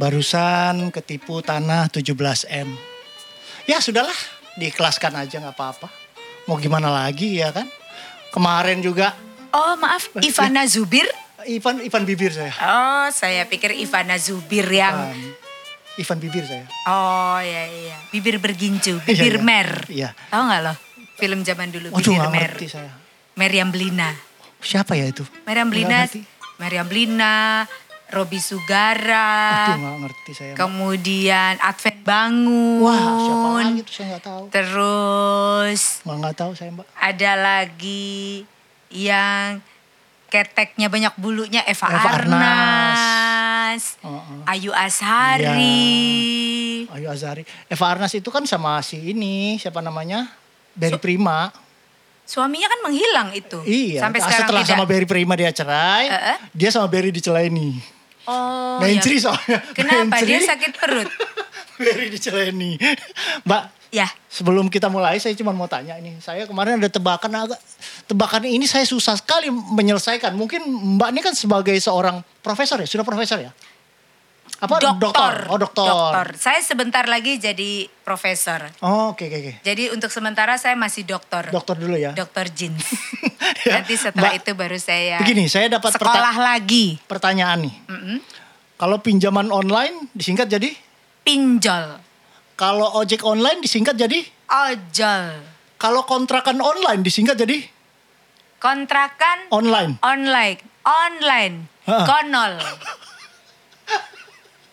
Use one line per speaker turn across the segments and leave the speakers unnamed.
Barusan ketipu tanah 17M. Ya sudahlah, diikhlaskan aja nggak apa-apa. Mau gimana lagi ya kan? Kemarin juga
Oh maaf, Ivana Zubir.
Ivan Ivan bibir saya.
Oh saya pikir Ivana Zubir yang.
Ivan- Ivan bibir saya.
Oh ya iya. Bibir bergincu,
Iya,
bibir
iya.
mer.
Iya.
Tahu nggak loh? Film zaman dulu
Waduh
bibir
nggak
mer.
ngerti saya.
Meriam Belina.
Siapa ya itu?
Meriam
Nggak
Belina.
ngerti.
Meriam Belina. Robi Sugara. Ah.
Waduh nggak ngerti saya.
Kemudian Advent Bangun.
Wah siapa lagi itu saya nggak tahu.
Terus
Nggak nggak tahu saya mbak.
ada lagi yang keteknya banyak bulunya Eva,
Eva Arnas.
Arnas.
Heeh. Iya.
Ayu Ashari.
Ayu Azari. Eva Arnas itu kan sama si ini siapa namanya? Barry Prima.
Suaminya kan menghilang itu.
Iya.
Sampai sekarang
setelah
tidak.
sama Barry Prima dia cerai,
Heeh.
dia sama Barry diceleni. Oh,
oh,
mencri
ya.
soalnya.
Kenapa
Mencri.
dia sakit perut?
Barry diceleni. Mbak,
ya,
sebelum kita mulai saya cuma mau tanya ini. Saya kemarin ada tebakan agak tebakan ini saya susah sekali menyelesaikan. Mungkin Mbak ini kan sebagai seorang profesor ya, sudah profesor ya? Apa dokter? Oh, dokter.
Dokter. Saya sebentar lagi jadi profesor.
Oh, oke oke oke.
Jadi untuk sementara saya masih dokter.
Dokter dulu ya.
Dokter jeans.
Ya,
Nanti setelah
Mbak,
itu baru saya
Begini, saya dapat perta-
sekolah lagi.
pertanyaan nih. Kalau pinjaman online disingkat jadi?
Pinjol.
Kalau ojek online disingkat jadi?
Ojol.
Kalau kontrakan online disingkat jadi
Kontrakan
online.
online. Online.
Ha.
Konol.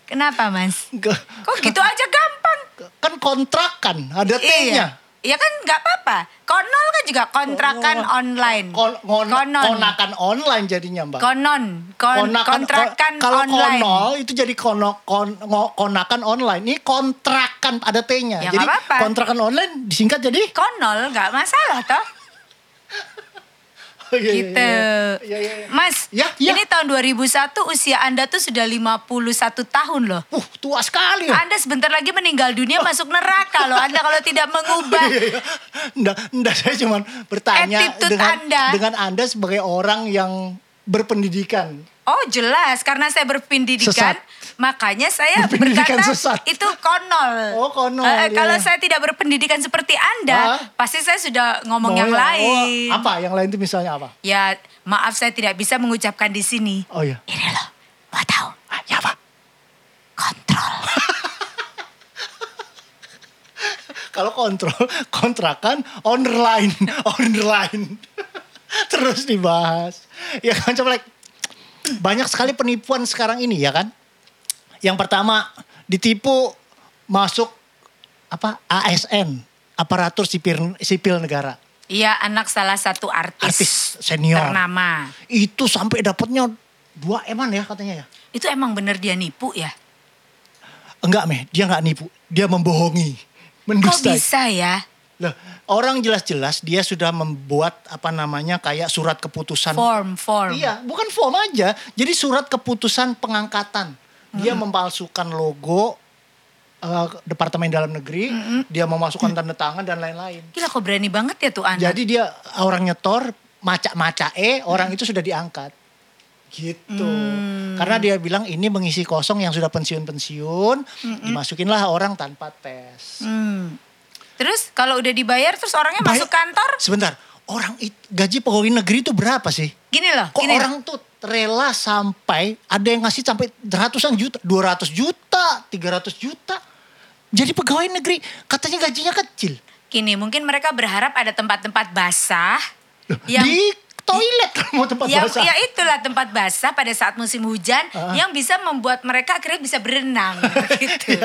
Kenapa mas?
Ke-
Kok gitu aja gampang?
Kan kontrakan ada T-nya.
Iya kan nggak apa-apa. Konol kan juga kontrakan
Konol.
online.
Oh, Kon- ngon-
konon.
Konakan online jadinya mbak.
Konon. Kon-
Konakan-
kontrakan
kon- kalau
online.
konol itu jadi kono, kon- ngo- konakan online. Ini kontrakan ada T-nya.
Ya,
jadi
nggak apa-apa.
kontrakan online disingkat jadi
Konol nggak masalah toh.
Oh, iya, iya,
Gitu.
iya. Iya, iya, iya.
Mas,
Ya, ya.
ini tahun 2001 usia Anda tuh sudah 51 tahun loh.
Uh, tua sekali. ya.
Anda sebentar lagi meninggal dunia masuk neraka loh. Anda kalau tidak mengubah
Iya, iya. Nggak, nggak, saya cuman bertanya
Attitude
dengan
Anda.
dengan Anda sebagai orang yang berpendidikan.
Oh jelas karena saya berpendidikan
Sesat.
makanya saya
Berpendidikan
berkata
sesat.
itu konol.
Oh, konol,
Eh, eh,
iya.
kalau saya tidak berpendidikan seperti Anda
Hah?
pasti saya sudah ngomong yang
Oh,
lain.
apa? Yang lain itu misalnya apa?
Ya maaf saya tidak bisa mengucapkan di sini.
Oh iya.
Ini loh mau tahu
Ah, ya apa?
kontrol.
Kalau kontrol kontrakan online, online. Terus dibahas. Ya kan coba like, banyak sekali penipuan sekarang ini ya kan? Yang pertama ditipu masuk apa ASN, aparatur sipil sipil negara.
Iya anak salah satu artis,
Artis Ya. senior.
ternama.
itu sampai dapatnya dua eman ya katanya ya
Itu emang bener dia nipu ya?
enggak meh dia nggak nipu dia membohongi
Kok
mendustai
bisa ya?
Loh, orang jelas-jelas dia sudah membuat apa namanya kayak surat keputusan
Form, form.
iya bukan form aja jadi surat keputusan pengangkatan dia memalsukan logo eh, departemen dalam negeri dia memasukkan tanda tangan dan lain-lain
Gila kok berani banget ya tuh anak.
jadi dia orang nyetor maca-maca eh orang itu sudah diangkat gitu karena dia bilang ini mengisi kosong yang sudah pensiun-pensiun dimasukinlah orang tanpa tes
Hmm. Terus kalau udah dibayar terus orangnya
Bay-
masuk kantor?
sebentar orang it- gaji pegawai negeri itu berapa sih
Gini loh,
kok
gini loh.
orang tuh rela sampai ada yang ngasih sampai ratusan juta 200 juta 300 juta jadi pegawai negeri katanya gajinya kecil
Gini, mungkin mereka berharap ada tempat-tempat basah
Loh,
Iya.
di toilet kalau mau tempat
ya,
basah
ya itulah tempat basah pada saat musim hujan yang bisa membuat mereka akhirnya bisa berenang gitu.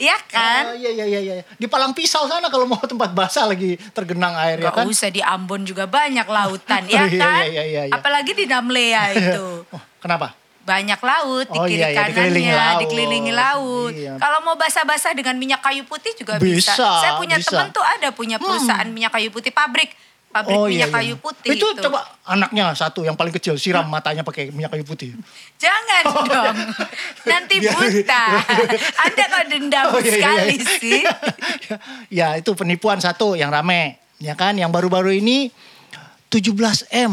Iya kan?
Oh, iya iya iya iya. Di Palang Pisau sana kalau mau tempat basah lagi tergenang air ya kan.
Gak usah di Ambon juga banyak lautan, ya
Oh, iya,
kan?
iya, iya, iya.
Apalagi di Namlea itu.
Oh, kenapa?
Banyak laut di
Oh,
kiri
iya, iya,
kanannya,
dikelilingi laut.
dikelilingi laut.
Iya.
Kalau mau basah-basah dengan minyak kayu putih juga
Bisa,
bisa. Saya punya
bisa. Hmm.
teman tuh ada punya perusahaan minyak kayu putih pabrik, pabrik
oh
minyak kayu putih
Itu coba anaknya satu yang paling kecil siram matanya pakai minyak kayu putih.
Jangan
Oh,
dong.
iya.
Nanti
Biar-
buta. Anda kok dendam
Iya. Oh, iya, iya,
sekali
iya.
sih.
ya itu penipuan satu yang rame ya kan yang baru-baru ini 17M.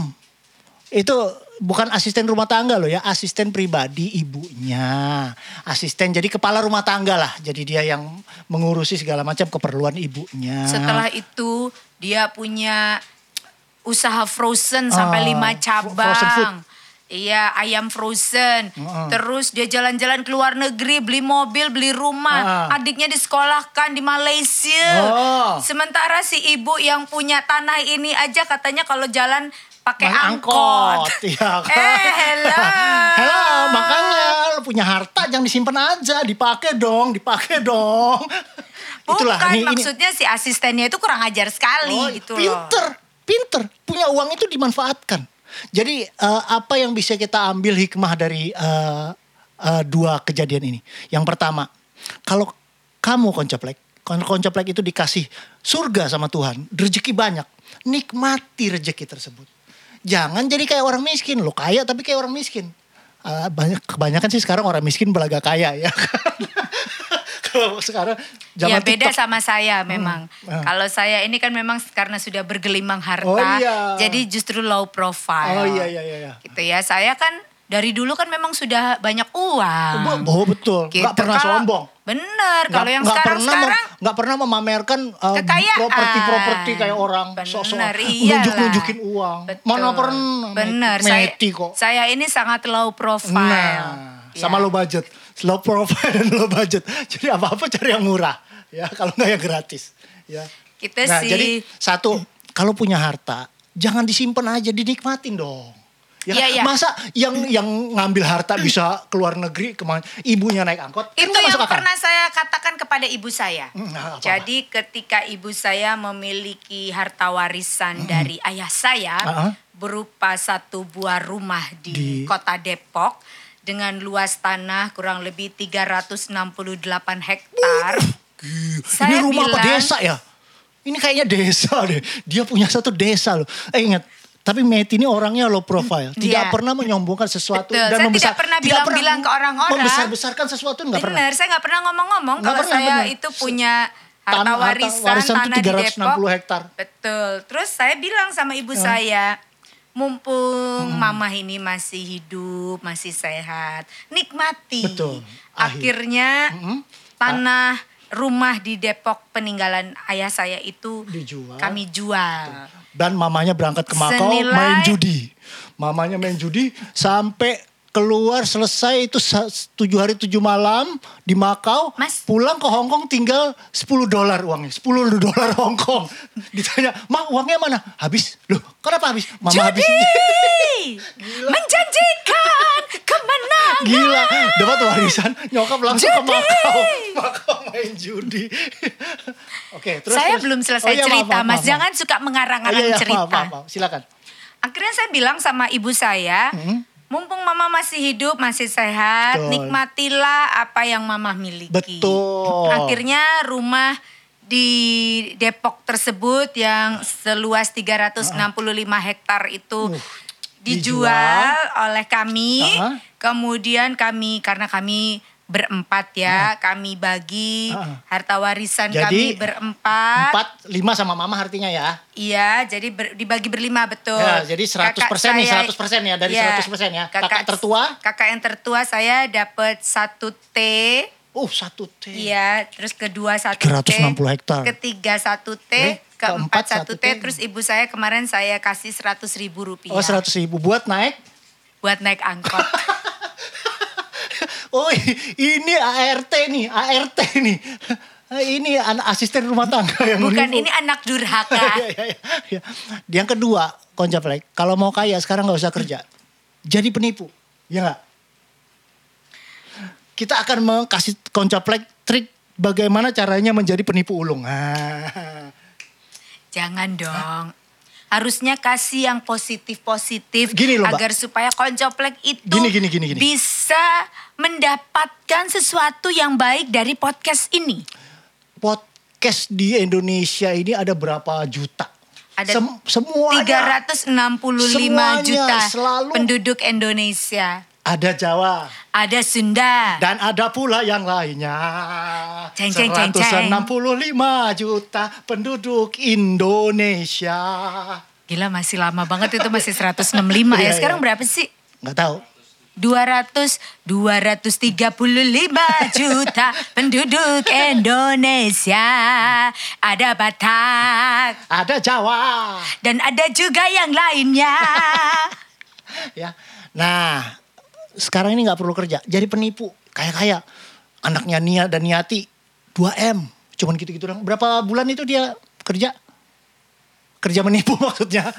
Itu bukan asisten rumah tangga loh ya, asisten pribadi ibunya. Asisten jadi kepala rumah tangga lah. Jadi dia yang mengurusi segala macam keperluan ibunya.
Setelah itu dia punya usaha frozen
Ah,
sampai lima
fro-
cabang.
frozen food.
Iya, ayam frozen.
Heeh.
Terus dia jalan-jalan ke luar negeri, beli mobil, beli rumah.
Ah.
Adiknya disekolahkan di Malaysia.
Oh.
Sementara si ibu yang punya tanah ini aja katanya kalau jalan pakai
Pakai
angkot.
Iya kan?
Eh, hello.
hello, makanya lu punya harta jangan disimpan aja, dipakai dong, dipakai dong.
Oh, Bukan, maksudnya si asistennya itu kurang ajar sekali
Oh,
gitu loh.
pinter, pinter. Punya uang itu dimanfaatkan. Jadi eh, apa yang bisa kita ambil hikmah dari eh, eh, dua kejadian ini? Yang pertama, kalau kamu koncoplek, kon- koncoplek itu dikasih surga sama Tuhan, rezeki banyak, nikmati rezeki tersebut. Jangan jadi kayak orang miskin, lo kaya tapi kayak orang miskin. Eh, banyak kebanyakan sih sekarang orang miskin belaga kaya ya. Kalau sekarang zaman
ya beda
TikTok.
sama saya memang.
ah.
Kalau saya ini kan memang karena sudah bergelimang harta,
Oh, iya.
jadi justru low
Oh
profile.
iya iya iya. iya.
Gitu ya. Saya kan dari dulu kan memang sudah banyak uang.
Oh betul,
Gitu.
nggak pernah
Kalau-
sombong.
Bener,
Nggak-
kalau yang
nggak
sekarang
pernah mem-
sekarang
nggak pernah memamerkan uh,
Kekayaan.
properti-properti kayak orang
Bener,
sok-sok
iyalah.
nunjuk-nunjukin uang.
Betul.
Mana pernah
Bener, saya,
meti kok.
saya ini sangat low profile.
Nah,
Ya.
sama low budget, low profile dan low budget. Jadi apa-apa cari yang murah, ya kalau nggak yang gratis, ya. nah,
Kita gitu Iya sih-
jadi satu, kalau punya harta jangan disimpan aja, dinikmatin dong. Ya, kan?
Iya, iya.
masa yang yang ngambil harta bisa keluar negeri kemana? Ibunya naik angkot, kan
Itu
nggak
yang
masuk akal.
pernah saya katakan kepada ibu saya.
Hmm, apa?
Jadi ketika ibu saya memiliki harta
Hmm.
warisan dari ayah saya
Ah-ah.
berupa satu buah rumah di,
Di-
kota Depok dengan luas tanah kurang lebih 368 hektar.
ini
Saya
rumah apa
bilang-
desa ya? Ini kayaknya desa deh. Dia punya satu desa loh. Eh ingat, tapi Meti ini orangnya low profile, tidak
Iya.
pernah menyombongkan sesuatu
Betul,
dan
saya
membesar-
tidak pernah bilang-bilang ke orang-orang.
Membesar-besarkan sesuatu nggak pernah.
Benar, saya nggak pernah ngomong-ngomong
Nggak
kalau
pernah,
saya
benar.
itu punya harta
Tanah- harta
warisan,
warisan tuh
tanah di
360
Depok.
hektar. Eh.
Betul. Terus saya bilang sama ibu saya, mumpung
Hmm.
mamah ini masih hidup, masih sehat, nikmati.
Betul. Akhir. Hmm.
Akhirnya
Mm-mm.
tanah rumah di Depok peninggalan ayah saya itu
Dijual.
kami jual.
Dan mamanya berangkat ke Makau
Senilai-
main judi. Mamanya main judi sampai keluar selesai itu sa- tujuh hari tujuh malam di Makau
Mas.
pulang ke Hong Kong tinggal 10 dolar uangnya 10 dolar Hong Kong ditanya ma uangnya mana habis loh kenapa habis mama habis
Judi menjanjikan kemenangan.
Gila, dapat warisan nyokap langsung ke
Judi.
Makau. Makau main judi. Oke, terus
saya
terus.
belum selesai
Oh, iya, maaf,
cerita,
maaf,
Mas.
maaf.
Jangan suka
Oh,
mengarang-arang
iya, iya,
cerita.
Maaf, maaf, maaf. Silakan.
Akhirnya saya bilang sama ibu saya, mumpung mama masih hidup, masih sehat,
Hmm. Betul.
nikmatilah apa yang mama miliki.
Betul.
Akhirnya rumah di Depok tersebut yang seluas 365 hektar itu
Uh,
dijual,
dijual.
oleh kami.
Uh-uh.
Kemudian kami karena kami berempat ya, kami bagi
Uh-uh.
harta warisan
Jadi,
kami berempat.
Empat, lima sama mama artinya ya.
Iya, jadi ber- dibagi berlima betul.
Ya, jadi 100%
Kakak
nih,
saya- Iya,
100% ya, dari 100% ya. Kakak tertua?
Kakak yang tertua saya dapat satu T.
Oh, satu T.
Iya, terus kedua satu T.
360 hektar.
Ketiga satu T,
Eh,
keempat
keempat
satu
satu
T.
T.
Terus ibu saya kemarin saya kasih 100 ribu rupiah.
Oh, seratus ribu buat naik.
Buat naik angkot.
Oh, i- ini ART nih, ART nih. Ini an- asisten rumah tangga yang
Bukan
menipu.
ini anak
Iya,
durhaka.
iya, iya. Yang kedua, koncaplek. Kalau mau kaya sekarang nggak usah kerja. Jadi penipu, ya nggak? Kita akan mengasih koncaplek trik bagaimana caranya menjadi penipu ulung. Ah.
Jangan dong. Harusnya kasih yang positif-positif
Gini loh, Mbak.
agar supaya koncoplek itu
Gini, gini, gini, gini.
bisa mendapatkan sesuatu yang baik dari podcast ini.
Podcast di Indonesia ini ada berapa juta?
Ada
semuanya
365
Semuanya
juta
selalu-
penduduk Indonesia.
ada Jawa
Ada Sunda.
dan ada pula yang lainnya.
Ceng, ceng, ceng, ceng.
165 juta penduduk Indonesia.
Gila masih lama banget itu masih 165 ya.
Iya,
Sekarang
iya.
berapa sih?
Nggak tahu.
200 235 juta penduduk Indonesia. Ada Batak
Ada Jawa.
dan ada juga yang lainnya.
ya. Nah, sekarang ini nggak perlu kerja. Jadi penipu. Kayak-kayak. Anaknya Nia dan Niati 2M. Cuman gitu-gitu doang. Berapa bulan itu dia kerja? Kerja menipu maksudnya.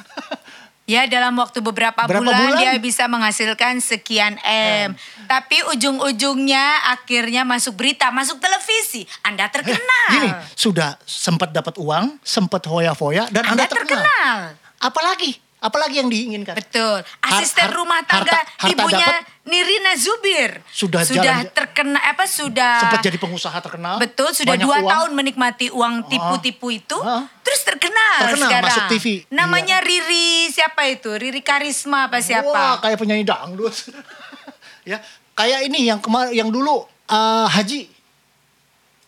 Ya dalam waktu beberapa
Berapa
bulan,
bulan? Hmm.
dia bisa menghasilkan sekian M. Tapi ujung-ujungnya akhirnya masuk berita, masuk televisi. Anda terkenal.
Eh, Gini, sudah sempat dapat uang, sempat foya-foya, dan Anda,
Anda terkenal.
Apalagi? Apalagi yang diinginkan?
Betul. Asisten
har-
rumah tangga
harta- harta
ibunya
dapat.
Nirina Zubir.
Sudah
sudah
jalan-
terkena apa sudah
Sempat jadi pengusaha terkenal.
Betul, sudah
banyak
dua
uang.
tahun menikmati uang tipu-tipu itu,
Ah.
terus terkenal,
Terkenal,
sekarang.
masuk TV.
Namanya Riri siapa itu? Riri Karisma apa
Wah,
siapa?
kayak penyanyi dangdut. ya, kayak ini yang kemarin yang dulu eh, haji.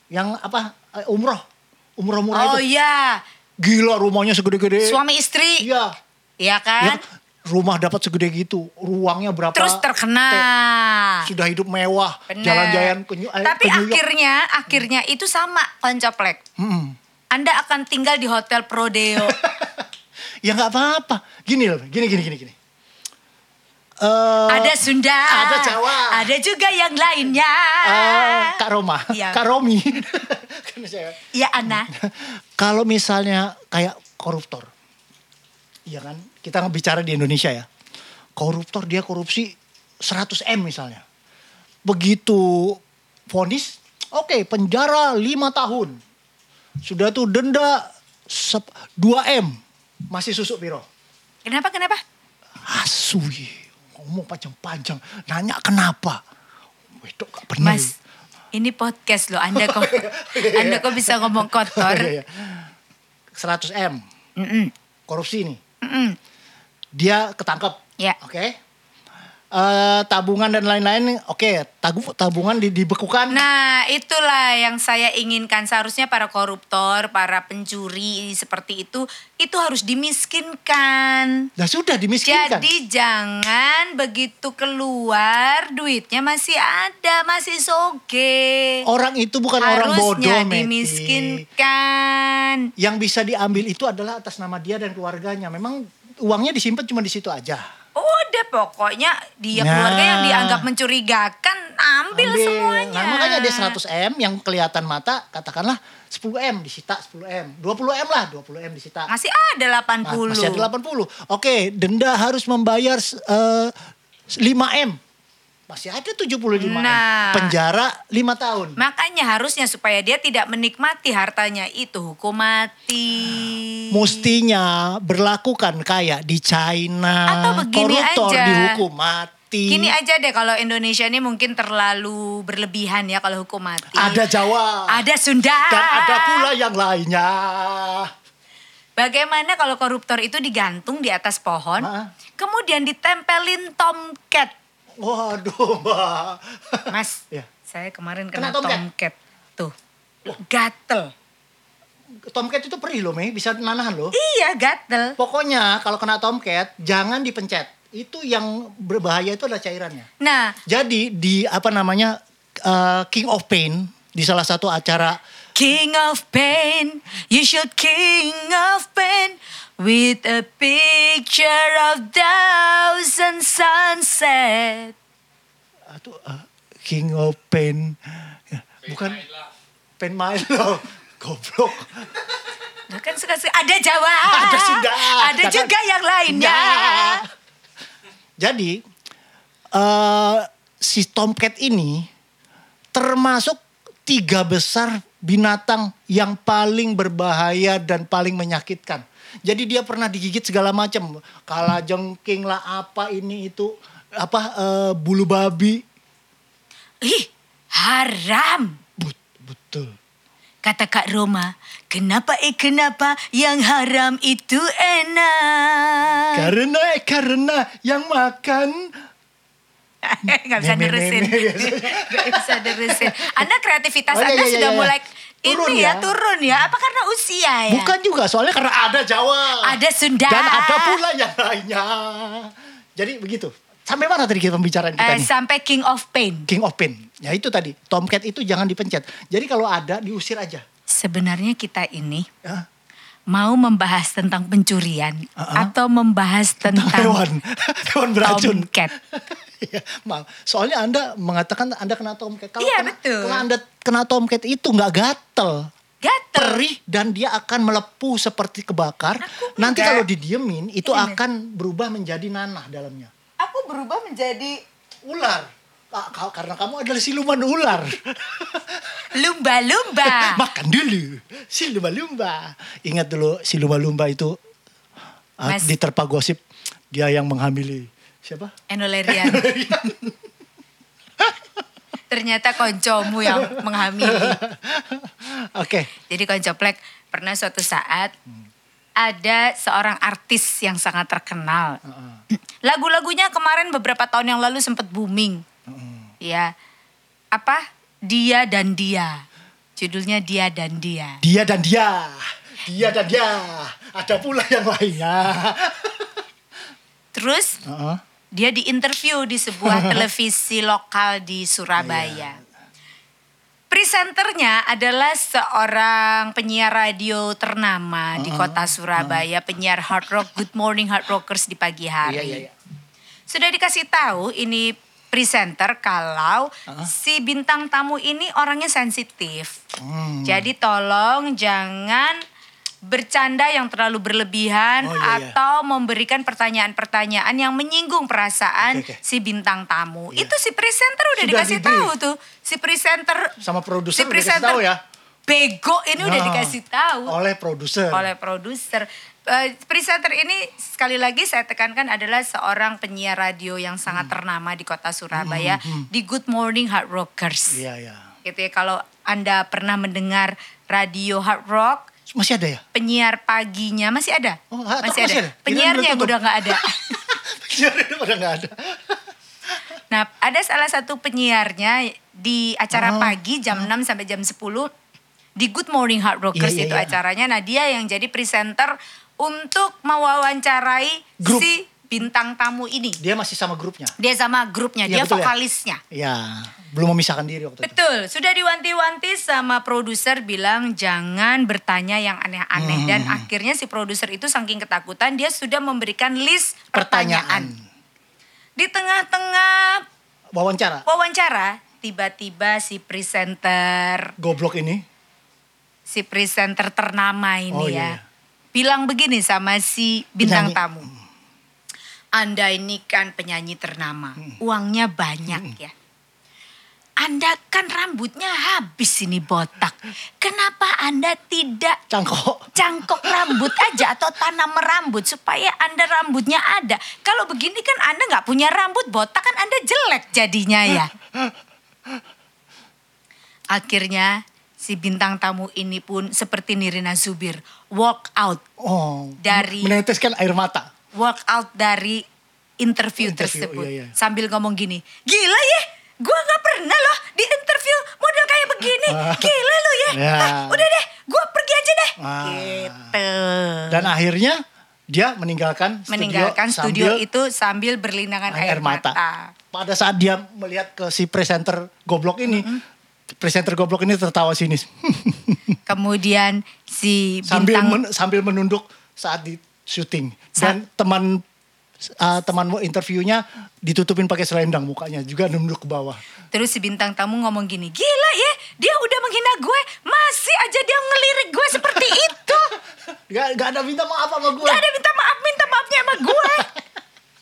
Yang apa? eh, Umroh. Umroh murah
oh
itu.
iya,
Gila rumahnya segede-gede.
suami istri. Iya,
Eh, Iya. Ya,
kan?
rumah dapat segede gitu. Ruangnya berapa?
Terus terkenal.
Sudah hidup mewah.
Bener.
Jalan-jalan ke New- eh, ke
Tapi
New York.
akhirnya, akhirnya itu sama koncoplek.
Mm-mm.
Anda akan tinggal di hotel Prodeo.
ya nggak apa-apa. Gini loh, gini gini gini gini. Eh,
ada Sunda,
ada Jawa.
ada juga yang lainnya.
eh, Kak Roma,
Iya.
Kak Romi. Kan saya-
Iya Ana,
Kalau misalnya kayak koruptor, iya kan? Kita bicara di Indonesia ya. Koruptor dia korupsi 100 M misalnya. Begitu vonis, oke penjara 5 tahun. Sudah tuh denda sep- 2 M. Masih susuk piro.
kenapa kenapa?
Asu ye. ngomong panjang-panjang, nanya kenapa. Wedok gak bener.
Mas,
Hmm.
ini podcast loh. Anda kok, Anda kok bisa ngomong kotor?
Oh, Iya, iya. 100 M
Mm-mm,
korupsi nih.
mm-mm.
Dia ketangkep.
Ya.
Oke. Eh, tabungan dan lain-lain oke tagu- tabungan di- dibekukan
Nah, itulah yang saya inginkan. Seharusnya para koruptor, para pencuri seperti itu, itu harus dimiskinkan.
Nah, sudah dimiskinkan
Jadi jangan begitu keluar duitnya masih ada, masih soge.
orang itu bukan Oh, orang bodoh
Harusnya
Meti.
dimiskinkan.
yang bisa diambil itu adalah atas nama dia dan keluarganya memang uangnya disimpan cuma di situ aja
Udah Oh, pokoknya dia
Nah.
keluarga yang dianggap mencurigakan ambil,
Ambil.
semuanya.
Nah, makanya dia 100 M yang kelihatan mata katakanlah 10 M disita 10 M. 20 M lah, 20 M disita.
Masih ada
Nah,
80.
masih ada 80. Oke, denda harus membayar eh, 5 M. Masih ada 75 M.
Nah.
Penjara 5 tahun.
Makanya harusnya supaya dia tidak menikmati hartanya itu hukum mati.
Mustinya berlakukan kayak di China.
Atau begini
koruptor
aja.
dihukum mati.
Gini aja deh kalau Indonesia ini mungkin terlalu berlebihan ya kalau hukum mati.
ada Jawa.
Ada Sunda.
Dan ada pula yang lainnya.
Bagaimana kalau koruptor itu digantung di atas pohon,
Maaf.
kemudian ditempelin tomcat.
Waduh, Mbak.
Mas,
Iya.
saya kemarin
Kena
kena,
tomcat?
tomcat. Tuh, gatel.
Tomcat itu perih loh, Mei. Bisa nanahan loh.
Iya, gatel.
Pokoknya kalau kena tomcat, jangan dipencet. Itu yang berbahaya itu adalah cairannya.
Nah,
Jadi di apa namanya eh, King of Pain di salah satu acara
King of pain, you should king of pain with a picture of thousand sunset.
itu eh, King of Pain Ya, bukan Pain My Love goblok
Nah, kan suka suka ada Jawa,
ada Sunda
ada
Karena-
juga yang lainnya.
Nah. jadi eh, si tomcat ini termasuk tiga besar binatang yang paling berbahaya dan paling menyakitkan. Jadi dia pernah digigit segala macam, kalajengking lah apa ini itu apa eh, bulu babi.
Ih, haram.
Bet- betul.
Kata Kak Roma, kenapa eh kenapa yang haram itu enak?
Karena karena yang makan
Gak bisa
Nenek-nenek
nerusin.
biasanya.
Gak bisa nerusin. Anda
Oh,
kreativitas
iya,
Anda
iya,
sudah
iya, iya.
mulai
Turun
ini ya,
ya.
turun ya. Apa karena usia ya?
Bukan juga, soalnya karena ada Jawa.
Ada Sunda.
Dan ada pula yang lainnya. Jadi begitu. Sampai mana tadi kita pembicaraan kita
Eh,
nih?
sampai King of Pain.
King of Pain. Ya itu tadi, Tomcat itu jangan dipencet. Jadi kalau ada, diusir aja.
Sebenarnya kita ini
Ya.
mau membahas tentang pencurian
Uh-uh.
atau membahas tentang,
Hewan. Hewan beracun.
Tomcat.
Iya, maaf. Soalnya Anda mengatakan Anda kena Tomcat. Kalau
Iya,
kena-
betul.
Kalau Anda kena Tomcat itu nggak gatel.
Gatel.
Perih dan dia akan melepuh seperti kebakar.
Aku
Nanti
enggak.
kalau didiemin itu
Iya,
akan berubah menjadi nanah dalamnya.
Aku berubah menjadi
Ular. Ah, kau- karena kamu adalah siluman ular.
lumba-lumba.
Makan dulu. Silumba-lumba. Ingat dulu silumba-lumba itu ah,
Mas-
diterpa gosip dia yang menghamili siapa?
Enolerian. Ternyata koncomu yang menghamili.
Oke.
Jadi koncoplek pernah suatu saat ada seorang artis yang sangat terkenal. Lagu-lagunya kemarin beberapa tahun yang lalu sempat booming. Ya. Apa? Dia dan dia. Judulnya Dia dan Dia.
dia dan dia, dia dan dia, ada pula yang lainnya.
Terus
Heeh.
dia diinterview di sebuah televisi lokal di
Iya.
Surabaya. Presenternya adalah seorang penyiar radio ternama di
Uh-huh.
kota Surabaya, penyiar hard rock Good Morning Hard Rockers di pagi
Iya
hari.
iya iya.
Sudah dikasih tahu ini presenter kalau si bintang tamu ini orangnya sensitif.
Hmm.
Jadi tolong jangan bercanda yang terlalu berlebihan
Oh, iya, iya.
atau memberikan pertanyaan-pertanyaan yang menyinggung perasaan
Oke, oke.
si bintang tamu. Itu si presenter udah
Sudah
dikasih
di-brief.
tahu tuh. Si presenter
Sama produser
si
udah dikasih
presenter
tahu ya.
Bego ini udah
Nah,
dikasih tahu
Oleh produser.
oleh produser. Eh, presenter ini sekali lagi saya tekankan adalah seorang penyiar radio yang
Hmm.
sangat ternama di kota Surabaya di Good Morning Hard Rockers.
Iya iya.
Gitu ya kalau Anda pernah mendengar radio hard rock
Masih ada ya?
penyiar paginya masih ada?
Oh, hard rock
masih, ada.
masih ada? Kirain
Penyiarnya
udah tutup.
udah nggak ada.
Jadi pada nggak ada.
Nah, ada salah satu penyiarnya di acara
Oh.
pagi jam 6 sampai jam 10 di Good Morning Hard Rockers
Iya, iya,
itu
iya.
acaranya. Nah, dia yang jadi presenter untuk mewawancarai
Grup.
si bintang tamu ini.
Dia masih sama grupnya.
Dia sama grupnya,
Iya,
dia
betul ya?
vokalisnya.
Ya, belum memisahkan diri waktu itu.
Betul, sudah diwanti-wanti sama produser bilang jangan bertanya yang aneh-aneh
Hmm.
dan akhirnya si produser itu saking ketakutan dia sudah memberikan list pertanyaan. Di tengah-tengah
Wawancara.
wawancara tiba-tiba si presenter
Goblok ini.
si presenter ternama ini
Oh,
ya
iya, iya.
bilang begini sama si bintang
Penyanyi.
tamu anda ini kan penyanyi ternama
Hmm.
uangnya banyak ya anda kan rambutnya habis ini botak kenapa anda tidak
Cangkok.
cangkok rambut aja atau tanam rambut supaya anda rambutnya ada. Kalau begini kan anda nggak punya rambut botak kan anda jelek jadinya ya. Akhirnya si bintang tamu ini pun seperti Nirina Zubir walk out,
Oh.
Dari-
Meneteskan air mata.
walk out dari interview,
Interview,
tersebut
iya, iya.
sambil ngomong gini, gila ya, gua nggak pernah loh di interview model kayak begini, gila lu ya,
Ya.
Ah, udah deh, gua pergi aja deh,
Ah.
gitu.
Dan akhirnya dia meninggalkan studio
meninggalkan studio,
sambil
itu sambil berlinangan
air,
air,
mata. Pada saat dia melihat ke si presenter goblok ini, presenter goblok ini tertawa sinis.
Kemudian si
sambil
bintang
men- sambil menunduk saat di syuting.
Sa-
Dan teman uh, teman interviewnya ditutupin pakai selendang mukanya juga nunduk ke bawah.
terus si bintang tamu ngomong gini, "Gila ya, dia udah menghina gue, masih aja dia ngelirik gue seperti itu.
Gak, gak ada minta maaf sama gue.
Gak ada minta maaf, minta maafnya sama gue."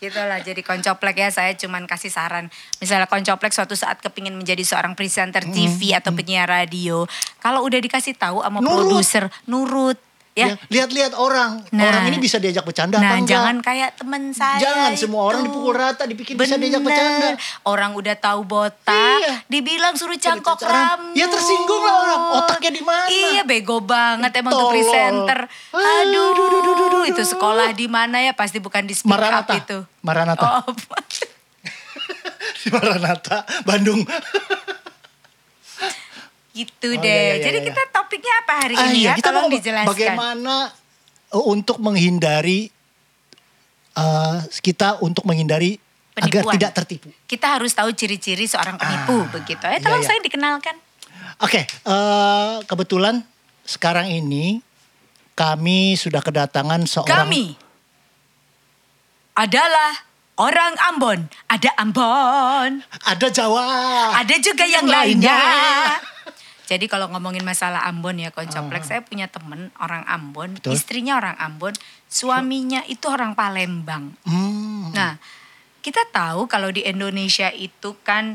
Gitu lah, jadi koncoplek ya saya cuman kasih saran. Misalnya koncoplek suatu saat kepingin menjadi seorang presenter
Hmm,
TV atau penyiar radio. Kalau udah dikasih tahu sama
Nurut.
produser, nurut. Ya,
Ya, Lihat-lihat orang,
Nah.
orang ini bisa diajak bercanda apa
Nah,
enggak?
jangan kayak temen saya.
Ya, Jangan, semua orang
itu.
dipukul rata, dibikin bisa diajak
Bener.
bercanda.
Orang udah tahu botak,
Iya.
dibilang suruh cangkok
Suruh cangkok.
rambut.
Ya, tersinggung lah orang. Otaknya di mana?
Iya, bego banget emang tuh
Tolol.
presenter. Aduh,
Aduh, duh, duh, duh, duh, duh.
itu sekolah di mana ya? Pasti bukan di speak
Maranatha.
up itu.
Maranatha.
Oh,
Di Maranatha, Bandung.
gitu
Oh, iya,
deh.
iya,
gitu Jadi
iya,
kita
iya.
topiknya apa hari
Ah,
ini
iya,
ya?
kita
Tolong
mau
dijelaskan.
bagaimana uh, untuk menghindari uh, kita untuk menghindari agar
Penipuan.
tidak tertipu.
Kita harus tahu ciri-ciri seorang penipu begitu.
iya,
Eh, tolong
iya.
saya dikenalkan.
Oke, eh, kebetulan sekarang ini kami sudah kedatangan seorang
Kami adalah orang Ambon. Ada Ambon,
ada Jawa.
ada juga yang
Ah, lainnya. Oh.
lainnya. Jadi kalau ngomongin masalah Ambon ya koncoplek, saya punya temen orang Ambon,
Betul.
istrinya orang Ambon, suaminya itu orang Palembang.
Hmm,
Nah, kita tahu kalau di Indonesia itu kan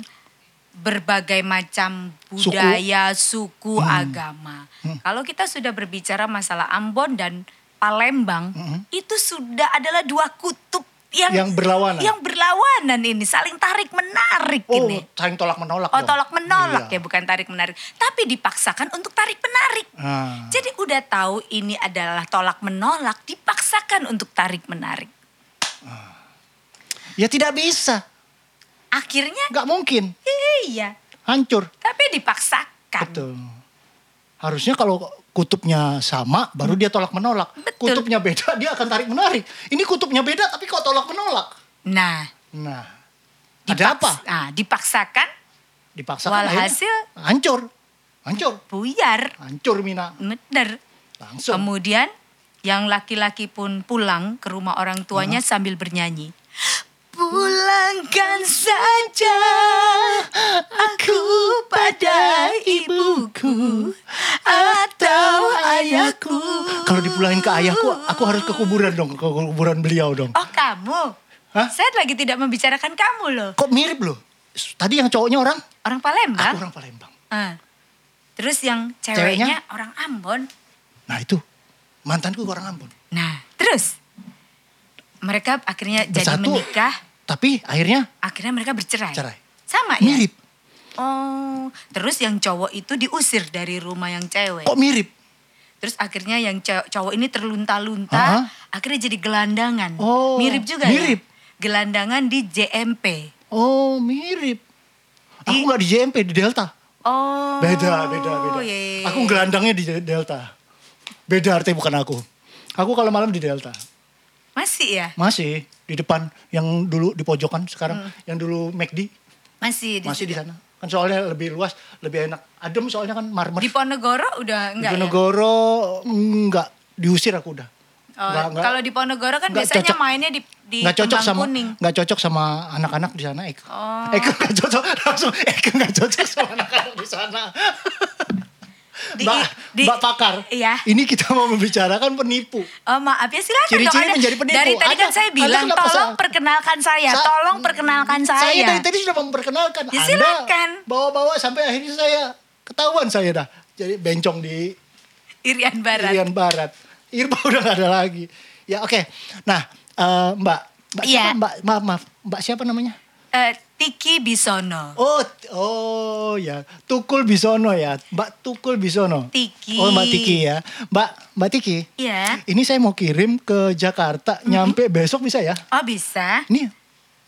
berbagai macam
Suku. Hmm.
budaya, suku, agama. Kalau kita sudah berbicara masalah Ambon dan Palembang, itu sudah adalah dua kutub yang
Hmm. Yang berlawanan.
Yang berlawanan ini saling tarik menarik
oh,
ini.
saling tolak menolak.
Oh,
dong.
tolak menolak
Iya.
ya bukan tarik menarik, tapi dipaksakan untuk tarik menarik.
Ah.
Jadi udah tahu ini adalah tolak menolak, dipaksakan untuk tarik menarik.
Ya tidak bisa,
Akhirnya
nggak mungkin,
Iya,
hancur.
tapi dipaksakan.
Betul. Harusnya kalau kutubnya sama, baru dia tolak menolak.
Betul.
Kutubnya beda, dia akan tarik menarik. Ini kutubnya beda, tapi kok tolak menolak?
Nah,
Nah,
dipaks-
ada apa?
Nah, dipaksakan
Dipaksa.
Walhasil-
hancur, hancur,
buyar.
hancur Mina.
Bener.
Langsung.
Kemudian yang laki-laki pun pulang ke rumah orang tuanya sambil bernyanyi. Pulangkan saja aku pada ibuku atau ayahku.
Kalau dipulangin ke ayahku, aku harus ke kuburan dong, ke kuburan beliau dong.
Oh kamu?
Hah?
Saya lagi tidak membicarakan kamu loh.
Kok mirip loh? Tadi yang cowoknya orang,
Orang
aku
Palembang.
orang Palembang.
Ah. Terus yang
Ceweknya?
ceweknya orang Ambon.
Nah itu mantanku orang Ambon.
Nah, terus mereka akhirnya jadi
Bersatu.
menikah,
Tapi akhirnya
akhirnya mereka bercerai.
Cerai.
Sama ya?
mirip.
Oh, terus yang cowok itu diusir dari rumah yang cewek.
Kok mirip?
Terus akhirnya yang cowok, cowok ini terlunta-lunta,
Aha.
akhirnya jadi gelandangan.
Oh,
mirip juga ya?
mirip.
Gelandangan di JMP.
Oh mirip. Aku
Di-
nggak di JMP di Delta.
Oh.
Beda, beda, beda.
iya, iya,
Aku
iya.
gelandangnya di De- Delta. Beda artinya bukan aku. Aku kalau malam di Delta.
Masih ya?
Masih di depan yang dulu di pojokan sekarang yang dulu McD
Masih Hmm. di
masih di
situ.
sana. Kan soalnya lebih luas, lebih enak. Adem soalnya kan marmer.
Di
Di
Ponegoro udah enggak ya?
Ponegoro enggak diusir aku udah.
Oh,
Nggak- nggak-
kalau di Ponegoro kan
nggak
biasanya
cocok.
mainnya di di
nggak cocok
kembang
sama
kuning.
nggak cocok sama anak-anak di sana Eko.
Oh.
Eko nggak cocok langsung Eko nggak cocok sama anak-anak di sana.
Di-
Mbak,
di-
Mbak Pakar,
Iya.
ini kita mau membicarakan penipu.
Oh maaf ya silakan
Ciri-ciri
dong. Anda-
menjadi penipu.
Dari tadi kan
Anda-
saya bilang
Anda kenapa
tolong
salah?
perkenalkan
Sa-
saya,
iya,
tolong perkenalkan saya.
Saya dari tadi sudah memperkenalkan
Ya,
Anda
silakan.
bawa-bawa sampai akhirnya saya ketahuan saya dah. Jadi bencong di
Irian Barat.
Irian Barat. Irba udah gak ada lagi. Ya oke. Nah eh, Mbak, Mbak
Iya.
siapa? Mbak, maaf, maaf. Mbak siapa namanya?
Eh, Tiki Bisono.
Oh, t- oh ya, Tukul Bisono ya, Mbak Tukul Bisono.
Tiki.
Oh Mbak Tiki ya, Mbak Mbak Tiki.
Iya.
Ini saya mau kirim ke Jakarta, nyampe besok bisa ya?
Oh bisa.
Ini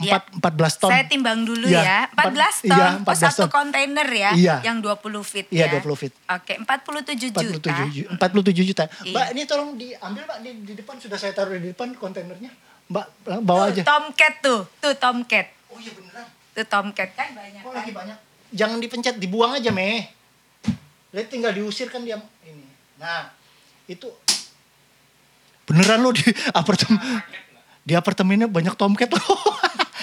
Iya.
empat empat belas ton.
Saya timbang dulu
Iya,
ya. 14 ton.
Iya,
oh
14
satu
ton.
kontainer ya.
Iya.
Yang 20 feet
Iya,
ya.
20 feet.
Oke 47
47
juta.
ju- 47 juta.
Iya.
Mbak ini tolong diambil Mbak di, di depan sudah saya taruh di depan kontainernya. Mbak lang- bawa
Tuh,
aja.
Tomcat tuh. Tuh Tomcat.
Oh iya beneran.
Tuh Tomcat kan banyak.
Oh
kan?
lagi banyak. Jangan dipencet, dibuang aja meh. Lihat tinggal diusir kan dia ini. Nah itu beneran lo di apartemen di apartemennya banyak tomcat lo.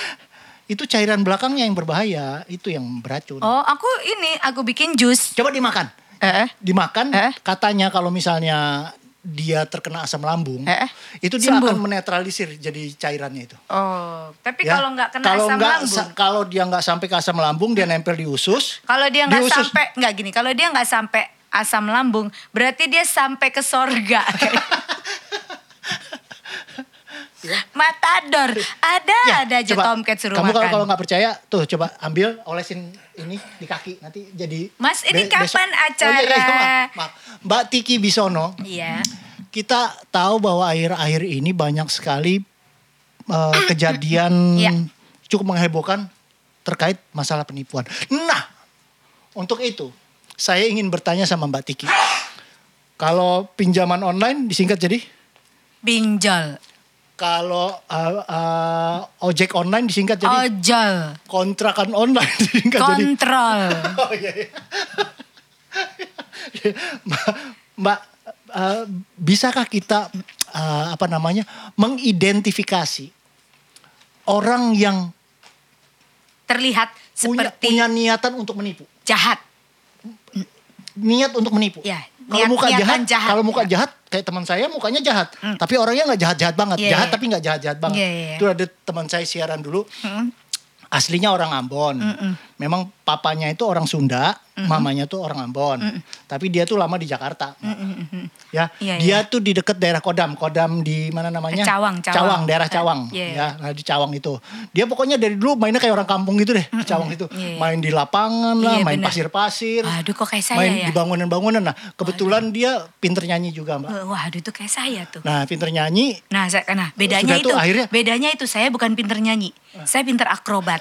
itu cairan belakangnya yang berbahaya, itu yang beracun.
Oh aku ini aku bikin jus.
Coba dimakan.
Eh,
Dimakan
Eh?
katanya kalau misalnya dia terkena asam lambung,
Eh?
itu dia
Sembuh.
akan menetralisir jadi cairannya itu.
Oh, tapi
Ya.
kalau nggak kena
Kalau
asam
nggak
lambung,
sa- kalau dia nggak sampai ke asam lambung, dia nempel di usus.
kalau dia nggak
Di usus.
sampai nggak gini, kalau dia nggak sampai asam lambung, berarti dia sampai ke sorga. Ya. Matador, ada
Ya,
ada aja
coba.
Tomcat suruh
Kamu kalau
makan.
kalau nggak percaya, tuh coba ambil olesin ini di kaki nanti jadi.
Mas, ini
be-
kapan acara?
Oh, iya, iya, maaf, maaf. Mbak Tiki Bisono,
Iya,
kita tahu bahwa akhir-akhir ini banyak sekali eh, kejadian
Iya.
cukup menghebohkan terkait masalah penipuan. Nah, untuk itu saya ingin bertanya sama Mbak Tiki. Kalau pinjaman online disingkat jadi?
Pinjol.
Kalau uh, uh, ojek online disingkat jadi?
Ojol.
kontrakan online disingkat jadi?
Kontrol.
Oh iya. iya. Mbak, Mbak, eh, bisakah kita eh, apa namanya mengidentifikasi orang yang
Terlihat
punya,
seperti
punya niatan untuk menipu,
jahat.
niat untuk menipu.
Ya,
Kalau
niat-
muka jahat,
niatan jahat,
kalau muka
ya.
jahat kayak teman saya mukanya jahat, tapi orangnya nggak jahat-jahat banget,
Iya,
jahat
iya.
tapi nggak jahat-jahat banget.
Iya, iya, iya.
Itu ada teman saya siaran dulu,
Mm,
aslinya orang Ambon. Memang papanya itu orang Sunda, mamanya tuh orang Ambon. Tapi dia tuh lama di Jakarta. Ya,
Iya, Eh,
dia tuh di dekat daerah Kodam, Kodam di mana namanya?
Cawang, Cawang.
daerah Cawang.
Iya,
Ya, nah, di Cawang itu. Dia pokoknya dari dulu mainnya kayak orang kampung gitu deh, di Cawang itu.
Iya, iya.
Main di lapangan lah,
Iya,
main
bener.
pasir-pasir.
Waduh kok kayak saya
main
ya. Oh, iya.
di bangunan-bangunan. Nah, kebetulan dia pinter nyanyi juga, Mbak.
Eh, Waduh itu kayak saya tuh.
Nah, pinter nyanyi
Nah, saya, nah bedanya
Sudah tuh
itu,
akhirnya- Eh.
bedanya itu saya bukan pinter nyanyi, saya pinter akrobat.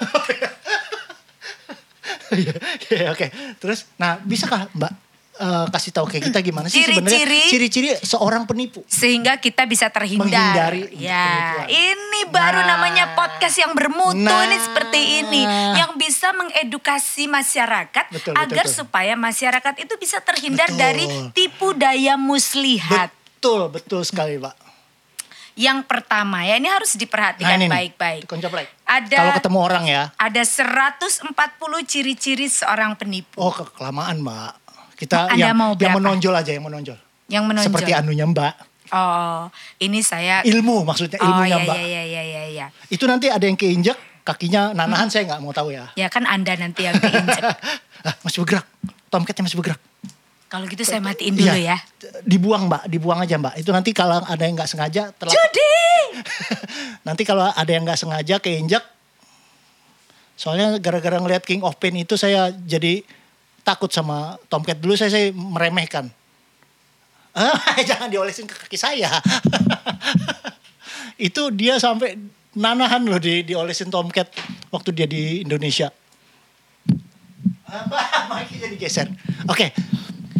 Iya, iya, Oke, terus, nah bisakah Mbak eh, kasih tahu kayak kita gimana sih
Ciri-ciri.
sebenarnya ciri-ciri seorang penipu?
sehingga kita bisa terhindar.
Menghindari untuk
Ya,
penipuan.
ini baru
Nah.
namanya podcast yang bermutu
Nah.
ini seperti ini yang bisa mengedukasi masyarakat
Betul, betul,
agar
betul.
supaya masyarakat itu bisa terhindar
Betul.
dari tipu daya muslihat.
Betul, betul sekali Mbak. Nah,
yang pertama ya ini harus diperhatikan
nih,
baik-baik.
dikoncoplek.
Ada-
Kalau ketemu orang ya,
Ada 140 ciri-ciri seorang penipu
oh ke- kelamaan Mbak. Kita
Anda
yang,
mau
yang
berapa?
menonjol aja, yang menonjol.
yang menonjol.
Seperti anunya Mbak,
oh, ini saya
ilmu maksudnya
Oh
ilmunya
ya
Mbak.
ya ya ya ya ya.
Itu nanti ada yang keinjek kakinya
Hmm.
nanahan saya nggak mau tahu ya.
Ya kan Anda nanti yang keinjek.
Ah, masih bergerak, tomketnya masih bergerak.
Kalau gitu saya matiin dulu
Iya.
ya.
Dibuang Mbak, dibuang aja Mbak. Itu nanti kalau ada yang nggak sengaja telah
Judi.
Nanti kalau ada yang nggak sengaja keinjak, soalnya gara-gara ngelihat King of Pain itu saya jadi takut sama Tomcat dulu saya, saya meremehkan. Ah, jangan diolesin ke kaki saya. itu dia sampai nanahan loh di diolesin Tomcat waktu dia di Indonesia. Apa? Maki jadi geser. Oke.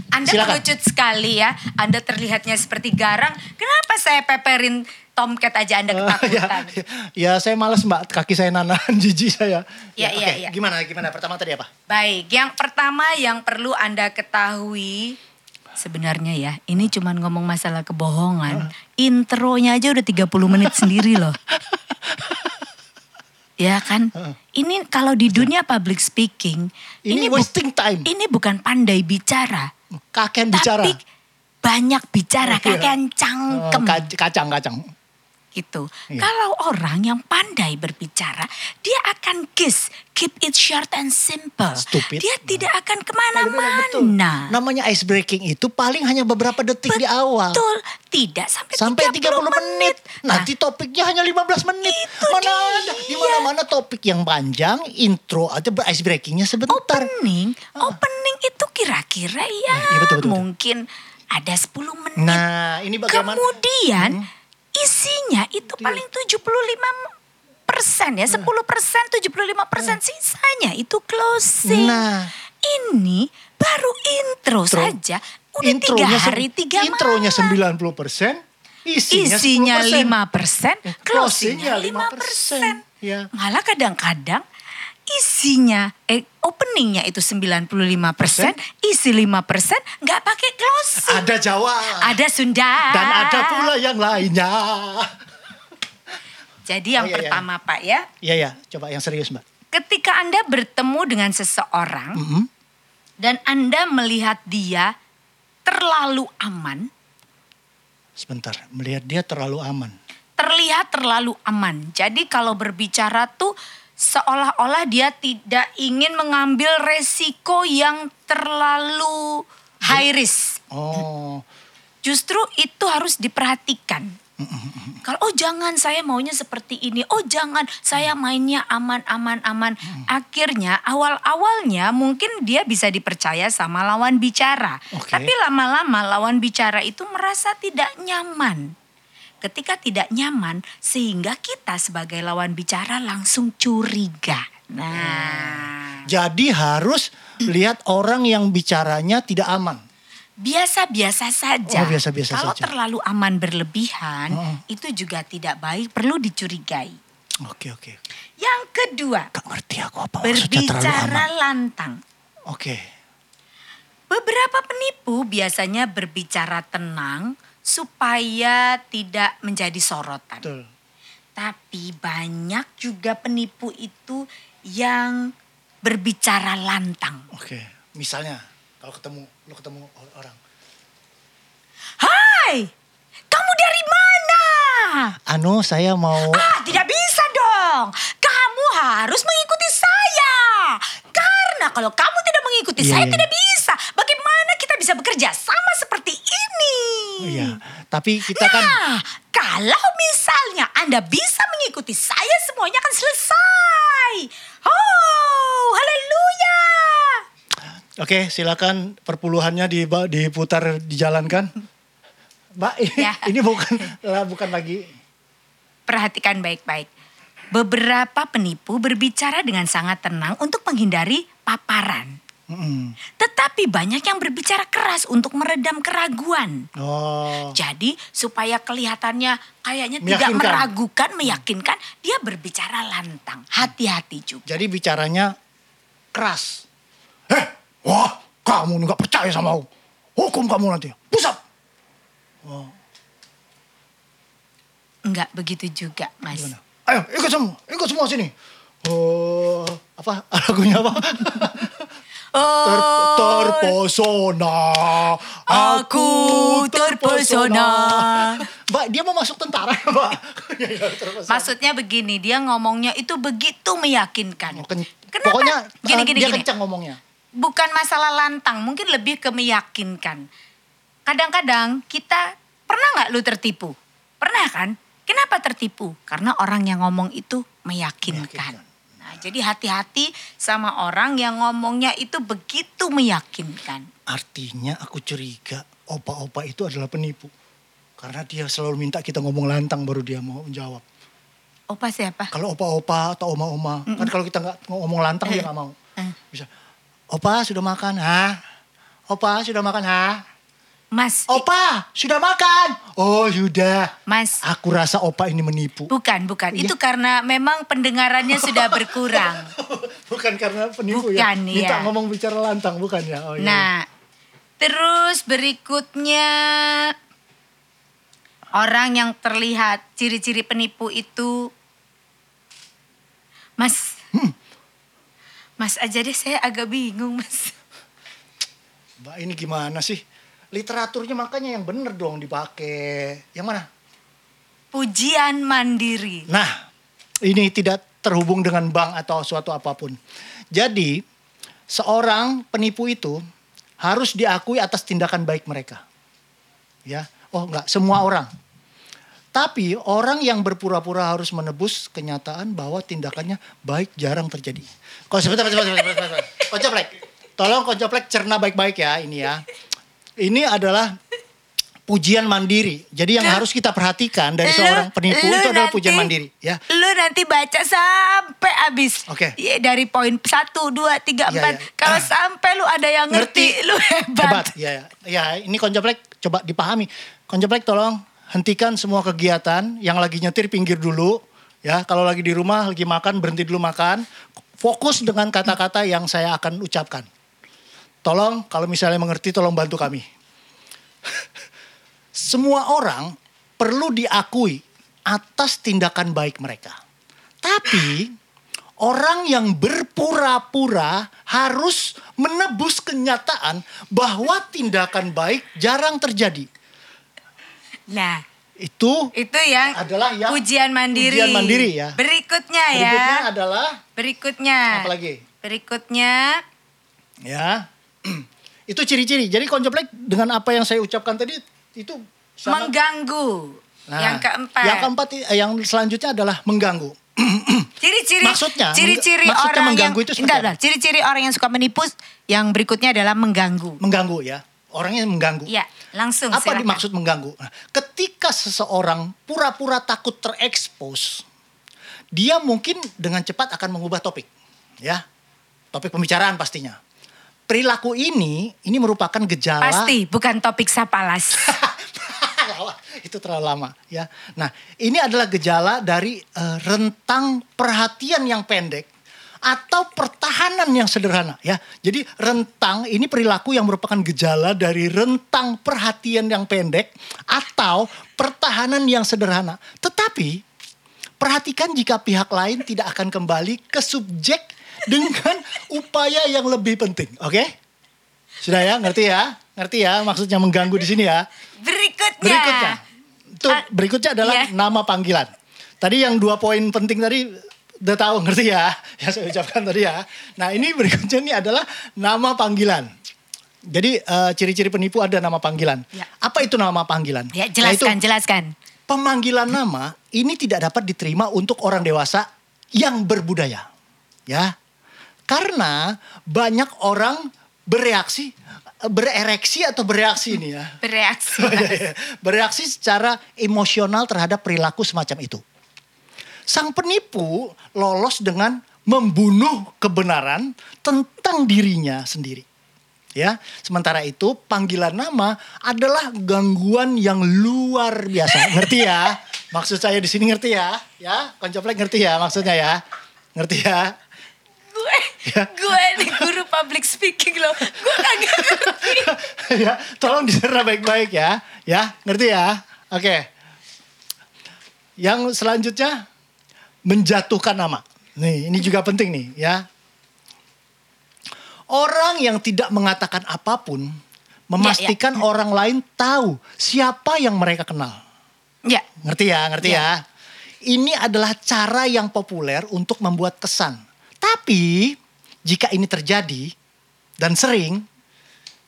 Anda
Silakan.
kerucut sekali ya. Anda terlihatnya seperti garang. Kenapa saya peperin tomcat aja Anda
ya,
ketakutan?
ya, ya, saya malas mbak kaki saya nanahan jijik saya.
Ya,
oke.
iya, iya.
Gimana gimana pertama tadi apa?
Baik, yang pertama yang perlu Anda ketahui sebenarnya ya, ini cuman ngomong
Ah.
masalah kebohongan. Intronya aja udah 30 menit sendiri loh. Ya kan? Ini kalau di dunia public speaking,
Ah. Ya. Ini,
ini bu-
wasting time.
ini bukan pandai bicara,
Kakek bicara.
tapi banyak
Oh, iya.
bicara, kakek
Eh,
cangkem.
kac- kacang kacang.
gitu.
Iya.
Kalau orang yang pandai berbicara, dia akan kiss, keep it short and simple.
Stupid. Nah.
Dia tidak akan
Betul. Nah.
kemana-mana.
Namanya ice breaking itu paling hanya beberapa detik di awal.
Betul, tidak sampai,
Sampai 30 menit.
Nah,
Nanti topiknya hanya 15 menit.
Itu
mana
dia.
ada di mana-mana topik yang panjang, intro aja ber- ice breakingnya sebentar.
opening, opening itu kira-kira ya
Ah. iya, betul, betul, betul.
mungkin ada 10 menit.
Nah, ini bagaimana? Hmm. Iya.
Kemudian isinya itu paling 75 persen ya,
Nah.
10 persen, 75 persen sisanya itu
Iya.
closing.
Nah.
Ini baru intro,
Intro.
saja, udah tiga
se-
hari tiga
Intronya
malam.
90%, isinya,
Isinya
10%.
5 persen,
closingnya
closingnya 5 persen.
5%, ya.
Malah kadang-kadang isinya, eh openingnya itu 95 persen, isi 5 persen nggak pakai closing.
Ya, Ada Jawa.
Ada Sunda.
Ah, Dan
Ah.
ada pula yang lainnya.
Jadi yang
Oh, iya, iya.
pertama Pak ya,
Iya ya, coba yang serius mbak.
ketika Anda bertemu dengan seseorang
Mhm.
dan Anda melihat dia terlalu aman,
Sebentar, melihat dia terlalu aman.
terlihat terlalu aman. Jadi kalau berbicara tuh seolah-olah dia tidak ingin mengambil resiko yang terlalu high risk.
Oh,
Justru itu harus diperhatikan. Kalau oh jangan saya maunya seperti ini, oh jangan saya mainnya aman aman aman. Akhirnya awal-awalnya mungkin dia bisa dipercaya sama lawan bicara.
Oke.
Tapi lama-lama lawan bicara itu merasa tidak nyaman. Ketika tidak nyaman sehingga kita sebagai lawan bicara langsung curiga. Nah,
jadi harus lihat orang yang bicaranya tidak aman.
biasa-biasa saja.
Oh, biasa-biasa
Kalau
saja.
terlalu aman berlebihan,
Mm.
itu juga tidak baik, perlu dicurigai.
Oke oke.
Yang kedua,
Gak ngerti aku apa maksudnya Oh, terlalu aman.
berbicara lantang.
Oke.
Beberapa penipu biasanya berbicara tenang supaya tidak menjadi sorotan.
Betul.
Tapi banyak juga penipu itu yang berbicara lantang.
Oke. Misalnya kalau ketemu lo ketemu o- orang.
Hai, kamu dari mana?
Anu saya mau
Ah, tidak bisa dong. Kamu harus mengikuti saya. Karena kalau kamu tidak mengikuti
Iya,
saya
iya.
tidak bisa. Bagaimana kita bisa bekerja sama seperti ini?
Iya. Tapi kita kan
Nah, kalau misalnya Anda bisa mengikuti saya, semuanya akan selesai. Oh, haleluya. Iya.
Oke, silakan perpuluhannya di diputar dijalankan. Mbak, ini,
Ya.
ini bukan lah, bukan lagi.
Perhatikan baik-baik. Beberapa penipu berbicara dengan sangat tenang untuk menghindari paparan.
Mm-mm.
Tetapi banyak yang berbicara keras untuk meredam keraguan.
Oh.
Jadi supaya kelihatannya kayaknya tidak
Meyakinkan.
meragukan, meyakinkan, dia berbicara lantang. Hati-hati juga.
Jadi bicaranya keras. Eh, wah, kamu nggak percaya sama aku. Hukum kamu nanti. Pusat.
Enggak begitu juga, Mas.
Gimana? Ayo, ikut semua. Ikut semua sini. Oh, apa lagunya apa?
Oh,
Ter- terpesona.
Aku terpesona.
Mbak, dia mau masuk tentara, Mbak. Ya, ya, terpesona.
Maksudnya begini, dia ngomongnya itu begitu meyakinkan.
Oh, ken-
Kenapa?
Pokoknya
gini,
eh,
gini,
dia
gini.
kencang ngomongnya.
Bukan masalah lantang, mungkin lebih ke meyakinkan. Kadang-kadang kita pernah nggak lu tertipu? Pernah kan? Kenapa tertipu? Karena orang yang ngomong itu meyakinkan.
Meyakinkan.
Nah, jadi hati-hati sama orang yang ngomongnya itu begitu meyakinkan.
Artinya aku curiga opa-opa itu adalah penipu. Karena dia selalu minta kita ngomong lantang baru dia mau menjawab.
Opa siapa?
Kalau opa-opa atau oma-oma, kan kalau kita nggak ngomong lantang dia nggak mau.
Eh.
Bisa, opa sudah makan, ha? Opa sudah makan, ha?
Mas,
Oh.
i-
Opa sudah makan. Oh sudah.
Mas.
Aku rasa opa ini menipu.
Bukan, bukan.
Iya.
Itu karena memang pendengarannya sudah berkurang.
bukan karena penipu ya.
Bukan,
Minta
iya.
ngomong bicara lantang, bukan ya? Oh, iya.
Nah, terus berikutnya orang yang terlihat ciri-ciri penipu itu Mas.
Hmm.
Mas aja deh saya agak bingung, Mas.
Mbak ini gimana sih? Literaturnya makanya yang bener dong dipakai. Yang mana?
Pujian mandiri.
Nah, ini tidak terhubung dengan bank atau suatu apapun. Jadi, seorang penipu itu harus diakui atas tindakan baik mereka. Ya, oh enggak, semua orang. Tapi orang yang berpura-pura harus menebus kenyataan bahwa tindakannya baik jarang terjadi. Kau sebentar, sebentar, sebentar, sebentar, sebentar. Kocoplek, tolong kocoplek cerna baik-baik ya ini ya. Ini adalah pujian mandiri. Jadi yang harus kita perhatikan dari
Lu-
seorang penipu
lu
itu adalah
nanti-
pujian mandiri, ya.
Lu nanti baca sampai habis.
Oke.
Iya, dari poin 1 2 3
Iya,
4.
iya.
Kalau sampai lu ada yang ngerti, lu hebat.
Ya, ya. ya ini konjeplek coba dipahami. Konjeplek tolong hentikan semua kegiatan yang lagi nyetir pinggir dulu. Ya, kalau lagi di rumah lagi makan berhenti dulu makan. Fokus dengan kata-kata yang saya akan ucapkan. Tolong kalau misalnya mengerti tolong bantu kami. Semua orang perlu diakui atas tindakan baik mereka. Tapi orang yang berpura-pura harus menebus kenyataan bahwa tindakan baik jarang terjadi.
Nah,
Itu
Itu yang
Adalah yang
ujian mandiri.
ujian mandiri, ya.
Berikutnya ya. Iya.
berikutnya adalah
Berikutnya.
apa lagi?
Berikutnya
Ya. itu ciri-ciri. Jadi konjeplek dengan apa yang saya ucapkan tadi itu sangat
mengganggu.
Nah,
yang keempat.
Yang keempat i- yang selanjutnya adalah mengganggu.
Ciri-ciri
Maksudnya,
ciri-ciri
mengga- maksudnya
orang
mengganggu itu
yang
seperti
enggak
apa?
enggak, ciri-ciri orang yang suka menipu yang berikutnya adalah mengganggu.
Mengganggu ya. Orangnya mengganggu.
Iya, langsung
Apa
silakan.
dimaksud mengganggu? Nah, Ketika seseorang pura-pura takut terekspos, dia mungkin dengan cepat akan mengubah topik, ya, topik pembicaraan pastinya. perilaku ini ini merupakan gejala
Pasti, bukan topik sapalas.
Lama, itu terlalu lama ya. Nah, ini adalah gejala dari eh, rentang perhatian yang pendek atau pertahanan yang sederhana ya. Jadi rentang ini perilaku yang merupakan gejala dari rentang perhatian yang pendek atau pertahanan yang sederhana. Tetapi perhatikan jika pihak lain tidak akan kembali ke subjek dengan upaya yang lebih penting, oke? Sudah ya, ngerti ya? Ngerti ya maksudnya mengganggu di sini ya?
Berikutnya.
Berikutnya. Tuh,
Ya. Ah,
berikutnya adalah
iya.
nama panggilan. Tadi yang dua poin penting tadi udah tahu ngerti ya yang saya ucapkan tadi ya. Nah ini berikutnya ini adalah nama panggilan. Jadi eh, ciri-ciri penipu ada nama panggilan.
Ya.
Apa itu nama panggilan?
Ya, jelaskan,
Yaitu
jelaskan.
pemanggilan nama ini tidak dapat diterima untuk orang dewasa yang berbudaya. Ya. Karena banyak orang bereaksi bereaksi atau bereaksi ini ya
Bereaksi.
bereaksi secara emosional terhadap perilaku semacam itu. Sang penipu lolos dengan membunuh kebenaran tentang dirinya sendiri. Ya, sementara itu panggilan nama adalah gangguan yang luar biasa. Ngerti ya? Maksud saya di sini ngerti ya? Ya, koncoplek ngerti ya maksudnya ya? Ngerti ya?
gue, gue ini guru public speaking loh. Gue kagak ngerti.
ya, tolong dicerna baik-baik ya. Ya, ngerti ya? Oke. Yang selanjutnya menjatuhkan nama. Nih, ini juga penting nih ya. Orang yang tidak mengatakan apapun memastikan orang lain tahu siapa yang mereka kenal.
Ya,
Ngerti ya, ngerti ya. Ini adalah cara yang populer untuk membuat kesan. Tapi jika ini terjadi dan sering,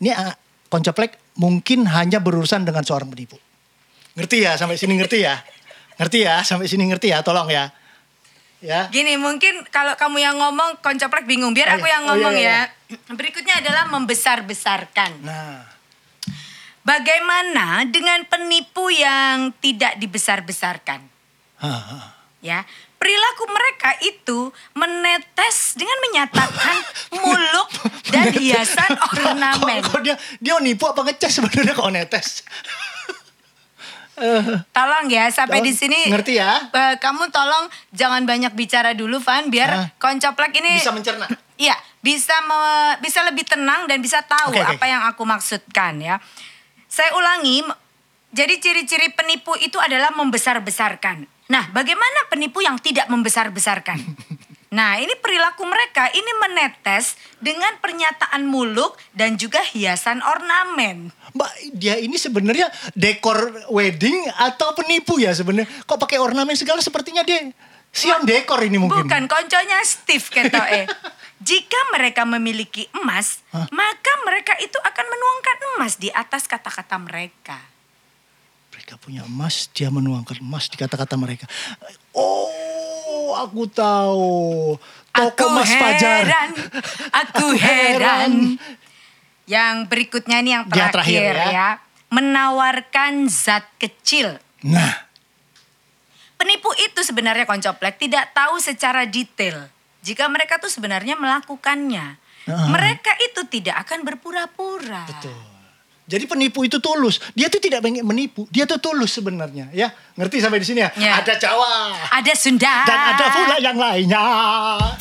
ini ah, koncoplek mungkin hanya berurusan dengan seorang penipu. Ngerti ya sampai sini ngerti ya? Ngerti ya sampai sini ngerti ya? Tolong ya. Ya.
Gini mungkin kalau kamu yang ngomong koncoplek bingung.
Oh,
Biar aku
iya.
yang
Oh, iya,
ngomong
iya,
ya. Berikutnya adalah membesar-besarkan.
Nah,
Bagaimana dengan penipu yang tidak dibesar-besarkan?
ha, ha.
Ya, perilaku mereka itu menetes dengan menyatakan muluk dan hiasan ornamen.
Kok, kok dia dia mau nipu apa ngecek sebenarnya kok netes?
Tolong ya sampai
Tolong,
di sini.
ngerti ya?
eh, kamu tolong jangan banyak bicara dulu, Van, biar
Ah.
koncoplek ini
Bisa mencerna.
Iya, bisa me- bisa lebih tenang dan bisa tahu
Oke, oke.
apa yang aku maksudkan ya. Saya ulangi, m- jadi ciri-ciri penipu itu adalah membesar-besarkan. Nah, bagaimana penipu yang tidak membesar-besarkan? Nah, ini perilaku mereka ini menetes dengan pernyataan muluk dan juga hiasan ornamen.
Mbak, dia ini sebenarnya dekor wedding atau penipu ya sebenarnya? Kok pakai ornamen segala sepertinya dia Sion dekor ini mungkin.
Bukan konconya Steve ketoke. Jika mereka memiliki emas, maka mereka itu akan menuangkan emas di atas kata-kata mereka.
Mereka punya emas, dia menuangkan emas di kata-kata mereka. Oh, aku tahu. Toko
aku
Mas Fajar.
heran, aku heran. Yang berikutnya nih yang
Yang
terakhir,
terakhir
ya.
ya.
Menawarkan zat kecil.
Nah,
Penipu itu sebenarnya koncoplek tidak tahu secara detail jika mereka tuh sebenarnya melakukannya.
Ah.
Mereka itu tidak akan berpura-pura.
Betul. Jadi penipu itu tulus. Dia tuh tidak pengen menipu. Dia tuh tulus sebenarnya, ya. Ngerti sampai di sini ya?
Ya.
Ada Jawa
Ada Sunda.
dan ada pula yang lainnya.